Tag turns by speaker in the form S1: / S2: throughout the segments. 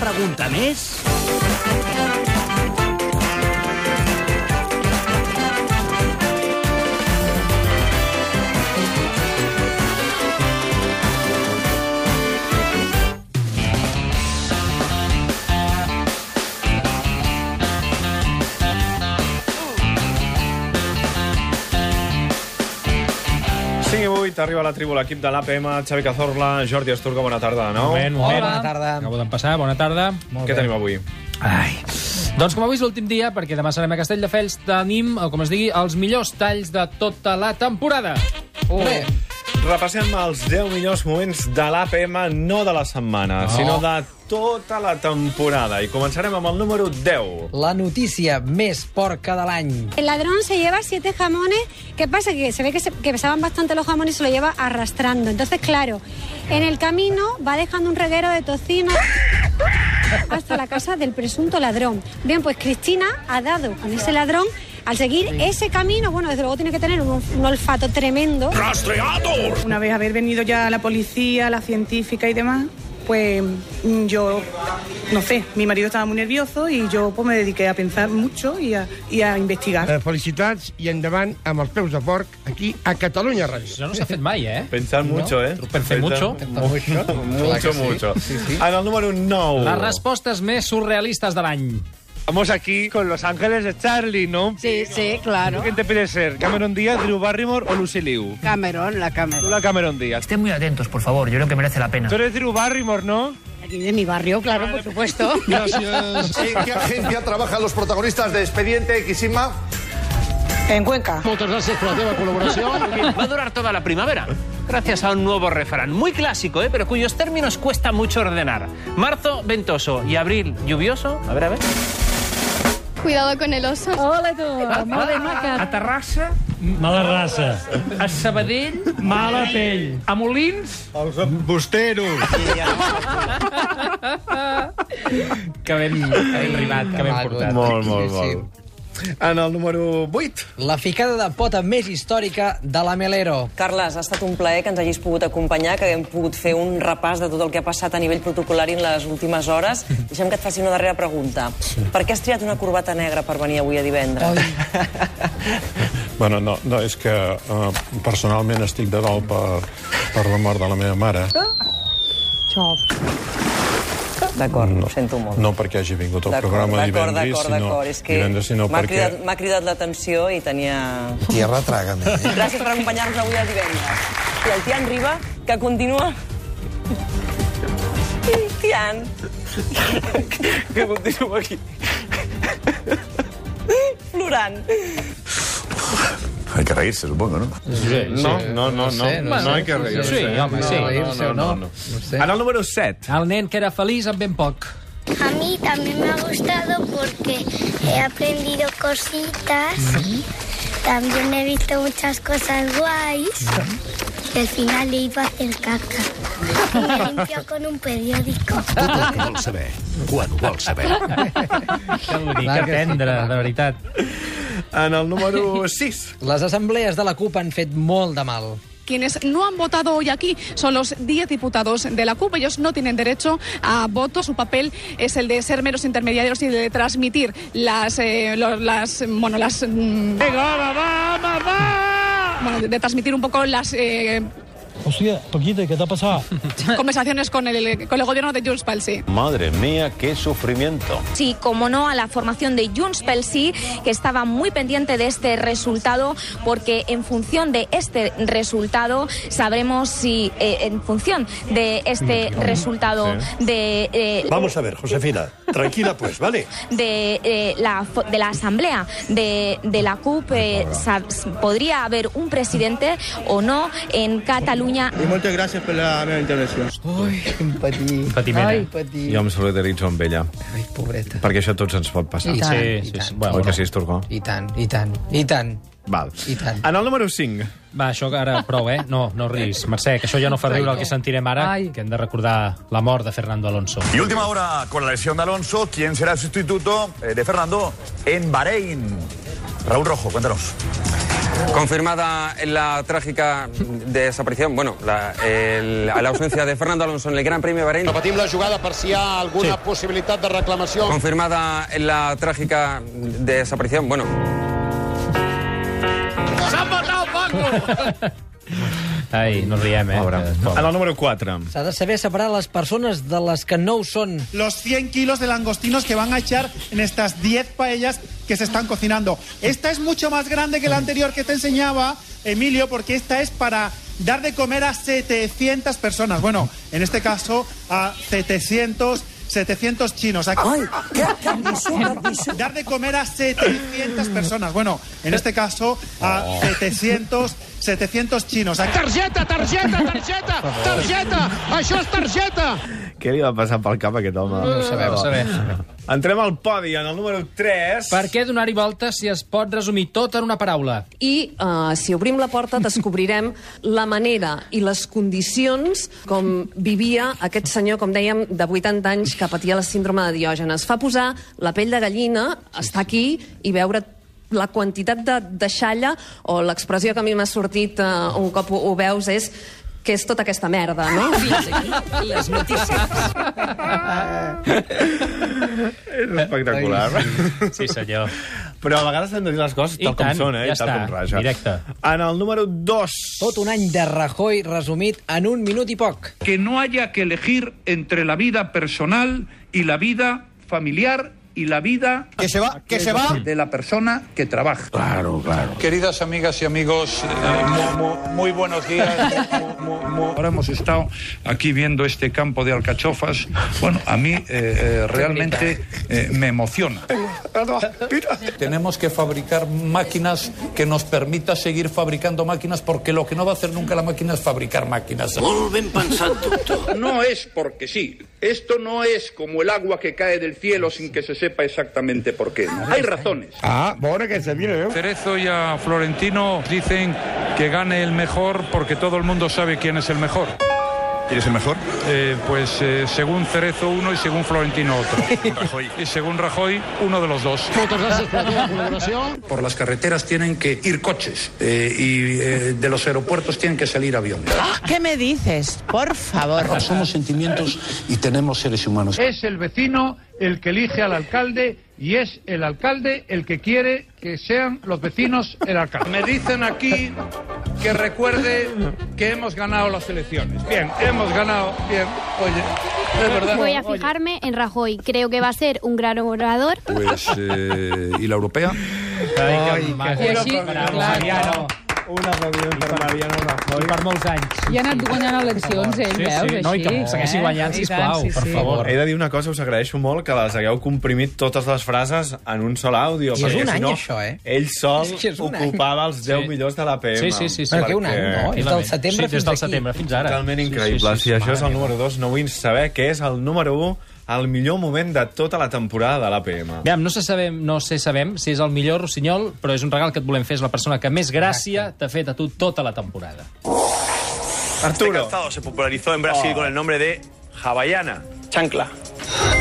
S1: pregunta més?
S2: 5 i 8, arriba a la tribu l'equip de l'APM, Xavi Cazorla, Jordi Asturga, bona tarda de nou.
S3: Moment, moment.
S4: Hola, bona tarda.
S3: Acabo d'empassar, bona tarda.
S4: Molt
S2: Què tenim avui?
S3: Ai. Doncs com avui és l'últim dia, perquè demà serem a Castelldefels, tenim, o com es digui, els millors talls de tota la temporada.
S4: Oh. Bé,
S2: Repassem els 10 millors moments de l'APM, no de la setmana, no. sinó de tota la temporada. I començarem amb el número 10.
S4: la notícia més porca de l'any.
S5: El ladrón se lleva siete jamones. ¿Qué pasa? Que se ve que, se- que pesaban bastante los jamones y se lo lleva arrastrando. Entonces, claro, en el camino va dejando un reguero de tocino hasta la casa del presunto ladrón. Bien, pues Cristina ha dado con ese ladrón. Al seguir ese camino, bueno, desde luego tiene que tener un, un olfato tremendo.
S6: Una vez haber venido ya la policía, la científica y demás, pues mm, yo, no sé, mi marido estaba muy nervioso y yo pues, me dediqué a pensar mucho y a, y a investigar.
S7: Eh, felicitats i endavant amb els peus de porc aquí a Catalunya Ràdio.
S3: Això no s'ha fet mai, eh?
S2: Pensar mucho, eh?
S3: Pensar mucho.
S4: Pensar mucho. Clar
S2: Mucho,
S4: que sí.
S2: mucho.
S4: Sí, sí.
S2: En el número 9.
S3: Les respostes més surrealistes de l'any.
S8: Vamos aquí con Los Ángeles de Charlie, ¿no?
S9: Sí, sí, claro.
S8: ¿Quién te pide ser? ¿Cameron Díaz, Drew Barrymore o Lucy Liu?
S9: Cameron, la Cameron.
S8: Tú la Cameron Díaz.
S10: Estén muy atentos, por favor. Yo creo que merece la pena.
S8: Tú eres Drew Barrymore, ¿no?
S9: Aquí de mi barrio, claro, por supuesto.
S11: ¿En qué agencia trabajan los protagonistas de Expediente Xisma?
S6: En Cuenca.
S10: Va a durar toda la primavera. Gracias a un nuevo refrán, muy clásico, ¿eh? pero cuyos términos cuesta mucho ordenar. Marzo, ventoso, y abril, lluvioso. A ver, a ver.
S5: Cuidado con el oso.
S9: Hola, tu. Molt bé, maca.
S10: Terrassa,
S1: Mala raça.
S10: a Sabadell, mala pell. A Molins,
S7: Els embusteros.
S3: Que ben, que ben rimat, que ben
S4: maco.
S3: portat.
S2: Molt, molt,
S4: Sí, sí.
S2: molt. En el número 8.
S6: Eh,
S4: La ficada de pota més històrica de la Melero.
S6: Carles, ha estat un plaer que ens hagis pogut acompanyar, que haguem pogut fer un repàs de tot el que ha passat a nivell protocolari en les últimes hores. Deixa'm que et faci una darrera pregunta. Per què has triat una corbata negra per venir avui a divendres?
S12: Bueno, no, no és que uh, personalment estic de dol per, per la mort de la meva mare,
S6: D'acord, no. ho sento molt.
S12: no perquè hagi vingut al
S6: D'acord,
S12: programa
S6: d'acord,
S12: divendris,
S6: d'acord,
S12: sinó,
S6: d'acord. És que
S12: divendres, sinó
S6: m'ha
S12: perquè...
S6: cridat, m'ha cridat l'atenció i tenia...
S11: Tierra trágame.
S6: Gràcies per acompanyar-nos avui a divendres. I el Tian Riba, que continua... Tian. que continua aquí. Plorant.
S11: Hay que reírse, supongo, ¿no?
S2: No, no, no, no.
S4: sé, no sé.
S2: hay que reírse.
S3: Sí, home, sí.
S4: Reírse o no. No sé.
S2: En el número 7.
S3: El nen que era feliç amb ben poc.
S5: A mí también me ha gustado porque he aprendido cositas, también he visto muchas cosas guays y al final le iba a hacer caca. Y me limpió con un periódico.
S11: Vols saber, quan ho vols saber.
S3: Que bonic,
S4: Clar
S3: que
S4: que sí.
S3: tendre, de veritat.
S2: En el número 6.
S4: Les assemblees de la CUP han fet molt de mal.
S6: Quienes no han votado hoy aquí son los 10 diputados de la CUP. Ellos no tienen derecho a voto. Su papel es el de ser meros intermediarios y de transmitir las, eh, lo- las, bueno, las, mm, bueno, de- de transmitir un poco las eh,
S1: Hòstia, Paquita, què t'ha passat?
S6: conversaciones con el, con el gobierno de Jules Palsy.
S8: Madre mía, qué sufrimiento.
S5: Sí, como no, a la formación de Junts pel Sí, que estaba muy pendiente de este resultado, porque en función de este resultado sabremos si, eh, en función de este resultado de, eh,
S11: Vamos a ver, Josefina. Tranquila, pues, ¿vale?
S5: de, eh, la, fo- de la asamblea de, de la CUP, eh, sa- s- podría haber un presidente o no en Cataluña.
S8: Y muchas gracias por la meva intervenció.
S4: Ui, quin patir.
S3: Patimena.
S4: Ai, patir.
S2: Jo em solidaritzo amb ella,
S4: Ai, pobreta.
S2: perquè això a tots ens pot passar.
S4: I tant,
S3: Sí,
S4: i
S3: sí,
S4: tant.
S3: sí. Bueno,
S2: Oi
S3: no.
S2: que sí, Esturgó?
S4: I tant, i tant, i tant.
S2: Val.
S4: I tant.
S2: En el número 5.
S3: Va, això que ara prou, eh? No, no riguis. Mercè, que això ja no fa riure el que sentirem ara,
S9: Ai.
S3: que hem de recordar la mort de Fernando Alonso.
S11: Y última hora con la lesión de Alonso. ¿Quién será el sustituto eh, de Fernando en Bahrein? Raúl Rojo, cuéntanos.
S13: Confirmada la trágica desaparición, bueno, la, el- la ausencia de Fernando Alonso en el Gran Premio de Bahrein.
S8: Repetim la jugada per si hi ha alguna sí. possibilitat de reclamació.
S13: Confirmada la trágica desaparición, bueno.
S8: S'ha matat, Paco!
S14: Ai, no riem, eh? Pobre.
S2: En el número 4.
S4: S'ha de saber separar les persones de les que no ho són.
S15: los 100 kilos de langostinos que van a echar en estas 10 paellas que se están cocinando. Esta es mucho más grande que la anterior que te enseñaba, Emilio, porque esta es para dar de comer a 700 personas. Bueno, en este caso a 700... 700 chinos. Aquí- Dar de comer a 700 personas. Bueno, en este caso a 700, 700 chinos. Aquí-
S8: Targeta, targeta, targeta, targeta! Això és targeta!
S2: Què li va passar pel cap a aquest home?
S14: No ho sabem, ho sabem.
S2: Entrem al podi, en el número 3.
S14: Per què donar-hi voltes si es pot resumir tot en una paraula?
S16: i eh, si obrim la porta descobrirem la manera i les condicions com vivia aquest senyor, com dèiem, de 80 anys que patia la síndrome de diògenes. Fa posar la pell de gallina, estar aquí i veure la quantitat de deixalla o l'expressió que a mi m'ha sortit eh, un cop ho, ho veus és que és tota aquesta merda, no? Fins aquí les notícies.
S2: És espectacular.
S14: Sí, senyor.
S2: Però a vegades hem de dir les coses
S4: I
S2: tal com
S4: tant,
S2: són, eh?
S4: ja
S2: i tal
S4: està,
S2: com raja.
S4: directe.
S2: En el número 2.
S4: Tot un any de Rajoy resumit en un minut i poc.
S10: que no haya que elegir entre la vida personal y la vida familiar y la vida que se va
S8: que se va.
S10: de la persona que trabaja. Claro, claro.
S8: Queridas amigas y amigos, eh, muy, buenos días.
S10: Ahora hemos estado aquí viendo este campo de alcachofas. Bueno, a mí eh, eh, realmente eh, me emociona.
S8: Tenemos que fabricar máquinas que nos permita seguir fabricando máquinas porque lo que no va a hacer nunca la máquina es fabricar máquinas.
S10: No es porque sí. Esto no es como el agua que cae del cielo sin que se sepa exactamente por qué. ¿no? Hay razones.
S17: Ah, bona que se
S7: ¿eh?
S17: mira, veu?
S10: Cerezo y a Florentino dicen que gane el mejor porque todo el mundo sabe quién es el mejor. ¿Quién es el mejor? pues eh, según Cerezo uno y según Florentino otro. Y según Rajoy, uno de los dos.
S8: Moltes gràcies per la teva col·laboració.
S10: Por las carreteras tienen que ir coches eh, y de los aeropuertos tienen que salir aviones.
S18: ¿Qué me dices? Por favor.
S8: Somos sentimientos y tenemos seres humanos.
S10: Es el vecino el que elige al alcalde y es el alcalde el que quiere que sean los vecinos el alcalde. Me dicen aquí que recuerde que hemos ganado las elecciones. Bien, hemos ganado. Bien, oye, es verdad.
S5: Voy a fijarme en Rajoy. Creo que va a ser un gran orador.
S10: Pues, ¿y la europea?
S14: Ai, que maco.
S10: I
S14: així, Mariano.
S2: Un aplaudiment per Mariano Rajoy.
S14: I per molts anys.
S19: I ha anat guanyant eleccions, ell,
S14: Sí, sí,
S19: veus,
S14: Eh? no, i
S19: així.
S14: que segueixi guanyant,
S19: I
S14: sisplau,
S19: tant,
S14: per favor.
S2: He de dir una cosa, us agraeixo molt que les hagueu comprimit totes les frases en un sol àudio.
S4: I és
S2: perquè,
S4: un
S2: si
S4: any,
S2: no,
S4: això, eh?
S2: Ell sol
S4: És que és un any.
S2: ocupava els 10
S4: Sí.
S2: millors de la PM.
S4: Sí, sí, sí, sí. Però que un any, no? És del setembre Sí, des del fins aquí. setembre fins ara.
S2: Totalment
S4: Sí, sí,
S2: increïble.
S4: sí, sí,
S2: Sí, si això
S4: mare
S2: és el
S4: meva.
S2: número 2, no vull saber què és el número 1, el millor moment de tota la temporada de la PM.
S14: Aviam, no, se sabem, no sé sabem si és el millor rossinyol, però és un regal que et volem fer. És la persona que més gràcia t'ha fet a tu tota la temporada.
S20: Este calzado se popularizó en Brasil con el nombre de Havaiana. Chancla.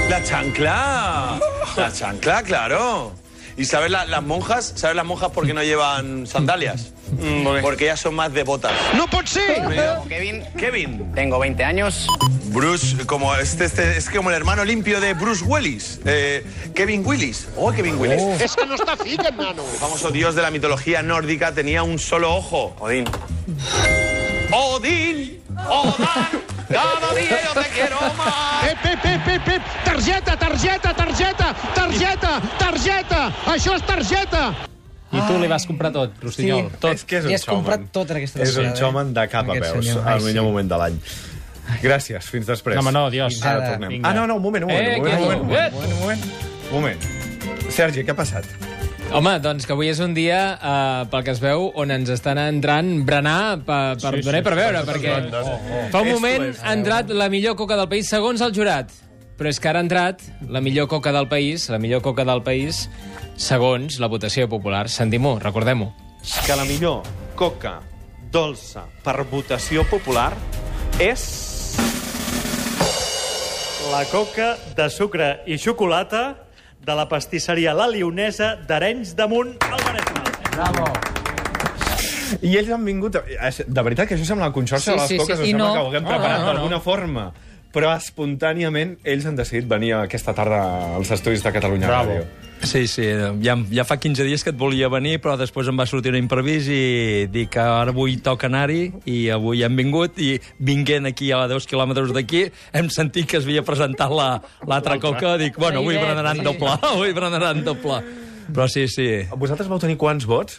S20: La chancla. La chancla, claro. ¿Y sabes la- las monjas? ¿Sabes las monjas por qué no llevan sandalias? Porque ellas son más devotas.
S8: ¡No pot ser!
S20: Me llamo Kevin. Kevin. Tengo 20 años. Bruce, como este, este- es como el hermano limpio de Bruce Willis. Eh, Kevin Willis. Oh, Kevin Willis.
S8: Es que no está fica, hermano.
S20: El famoso dios de la mitología nórdica tenía un solo ojo. Odín.
S8: Mm.
S20: Odín. Odán. Cada día yo te quiero más.
S8: Pep, pep, pep, pep, pep. Targeta, targeta, targeta, targeta, targeta. Això és targeta.
S14: I tu li vas comprar tot, rossinyol.
S2: Sí.
S14: Tot.
S2: És que és un Li has showman. comprat tot en aquesta
S14: És
S2: És un showman de cap a
S14: Aquest
S2: peus,
S14: senyor.
S2: el
S14: Ai,
S2: millor
S14: sí.
S2: moment de l'any. Gràcies, fins després.
S14: No, home, no, adiós.
S2: Ara
S14: Ara,
S2: tornem.
S14: vinga.
S2: Ah, no, no, un moment, un moment.
S14: Eh,
S2: un moment,
S14: quieto.
S2: un
S14: Eh.
S2: moment, un moment, un moment, un moment. Un moment. Sergi, què ha passat?
S3: Home, doncs que avui és un dia, eh, pel que es veu, on ens estan entrant berenar per, per
S21: Sí, sí,
S3: donar i per
S21: sí,
S3: veure,
S21: sí,
S3: perquè
S21: sí, sí. Oh, oh.
S3: fa un
S21: Esto
S3: moment
S21: es.
S3: ha entrat la millor coca del país segons el jurat, però és que ara ha entrat la millor coca del país, la millor coca del país segons la votació popular. Sentim-ho, recordem-ho.
S20: que la millor coca dolça per votació popular és...
S22: La coca de sucre i xocolata de la pastisseria La Lionesa d'Arenys de Munt al Maresme. Bravo.
S2: I ells han vingut... a- és- De veritat que això sembla el consorci
S1: Sí,
S2: de les
S1: sí,
S2: coques,
S1: sí,
S2: em
S1: i
S2: sembla
S1: no.
S2: que ho haguem
S1: No,
S2: preparat
S1: no, no,
S2: d'alguna forma. Però espontàniament ells han decidit venir aquesta tarda als estudis de Catalunya
S10: Bravo.
S2: Ràdio.
S10: Sí, sí, ja, ja fa 15 dies que et volia venir, però després em va sortir un imprevist i dic que ara avui toca anar-hi i avui hem vingut i vinguent aquí a 10 quilòmetres d'aquí hem sentit que es havia presentat la- l'altra la, coca. Dic, bueno, avui
S2: L'Ivet,
S10: berenaran
S2: sí.
S10: sí. doble, avui berenaran doble. Però sí, sí.
S2: Vosaltres vau tenir quants vots?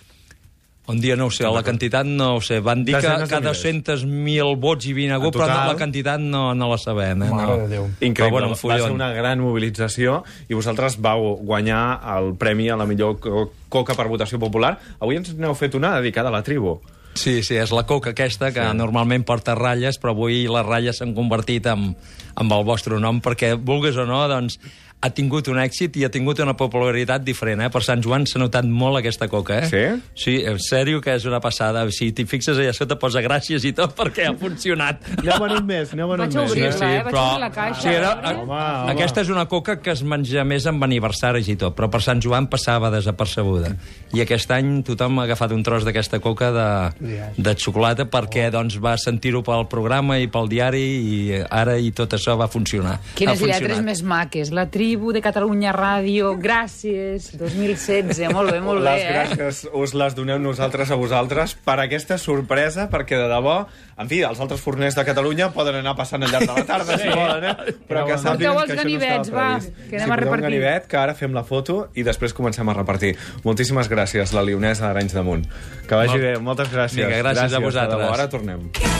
S10: Un dia no ho sé, la quantitat no ho sé. Van dir que,
S2: Desenes de
S10: que
S2: milers.
S10: 200.000 vots hi havia
S2: En
S10: hagut, però
S2: total?
S10: la quantitat no, no la sabem. Eh?
S8: Oh,
S10: no.
S2: Increïble.
S10: Però, bueno, un
S2: va ser
S10: follon.
S2: una gran mobilització i vosaltres vau guanyar el premi a la millor co- coca per votació popular. Avui ens n'heu fet una dedicada a la tribu.
S10: Sí, sí, és la coca aquesta que sí. normalment porta ratlles, però avui les ratlles s'han convertit en, en el vostre nom perquè, vulgues o no, doncs ha tingut un èxit i ha tingut una popularitat diferent, eh? Per Sant Joan s'ha notat molt aquesta coca, eh?
S2: Sí?
S10: Sí, en sèrio que és una passada. Si t'hi fixes allà sota posa gràcies i tot perquè ha funcionat.
S2: Aneu venut més, aneu venut
S10: Vaig a
S2: més.
S10: obrir-la, Sí, eh? Vaig però- obrir la caixa. Sí, era-
S2: Home, home.
S10: Aquesta és una coca que es menja més amb aniversaris i tot, però per Sant Joan passava desapercebuda. I aquest any tothom ha agafat un tros d'aquesta coca de, de xocolata perquè
S2: Oh.
S10: doncs, va sentir-ho pel programa i pel diari i ara i tot això va funcionar. ha
S9: Quines
S10: funcionat.
S9: lletres més maques. La tribu de Catalunya Ràdio, gràcies, 2016, molt bé, molt bé,
S2: les
S9: eh?
S2: gràcies us les doneu nosaltres a vosaltres per aquesta sorpresa, perquè de debò, en fi, els altres forners de Catalunya poden anar passant al llarg de la tarda,
S9: Sí.
S2: si volen, eh? Però que
S9: Porteu
S2: sàpiguen
S9: els
S2: que això no
S9: ganivets,
S2: estava
S9: va,
S2: previst.
S9: que anem
S2: sí,
S9: a
S2: porteu un
S9: repartir.
S2: ganivet, que ara fem la foto i després comencem a repartir. Moltíssimes gràcies, la Lionesa d'Arenys de Munt. Que vagi
S10: Molt-
S2: bé, moltes gràcies.
S10: Vinga, gràcies a
S2: de debò.
S10: vosaltres.
S2: Ara tornem.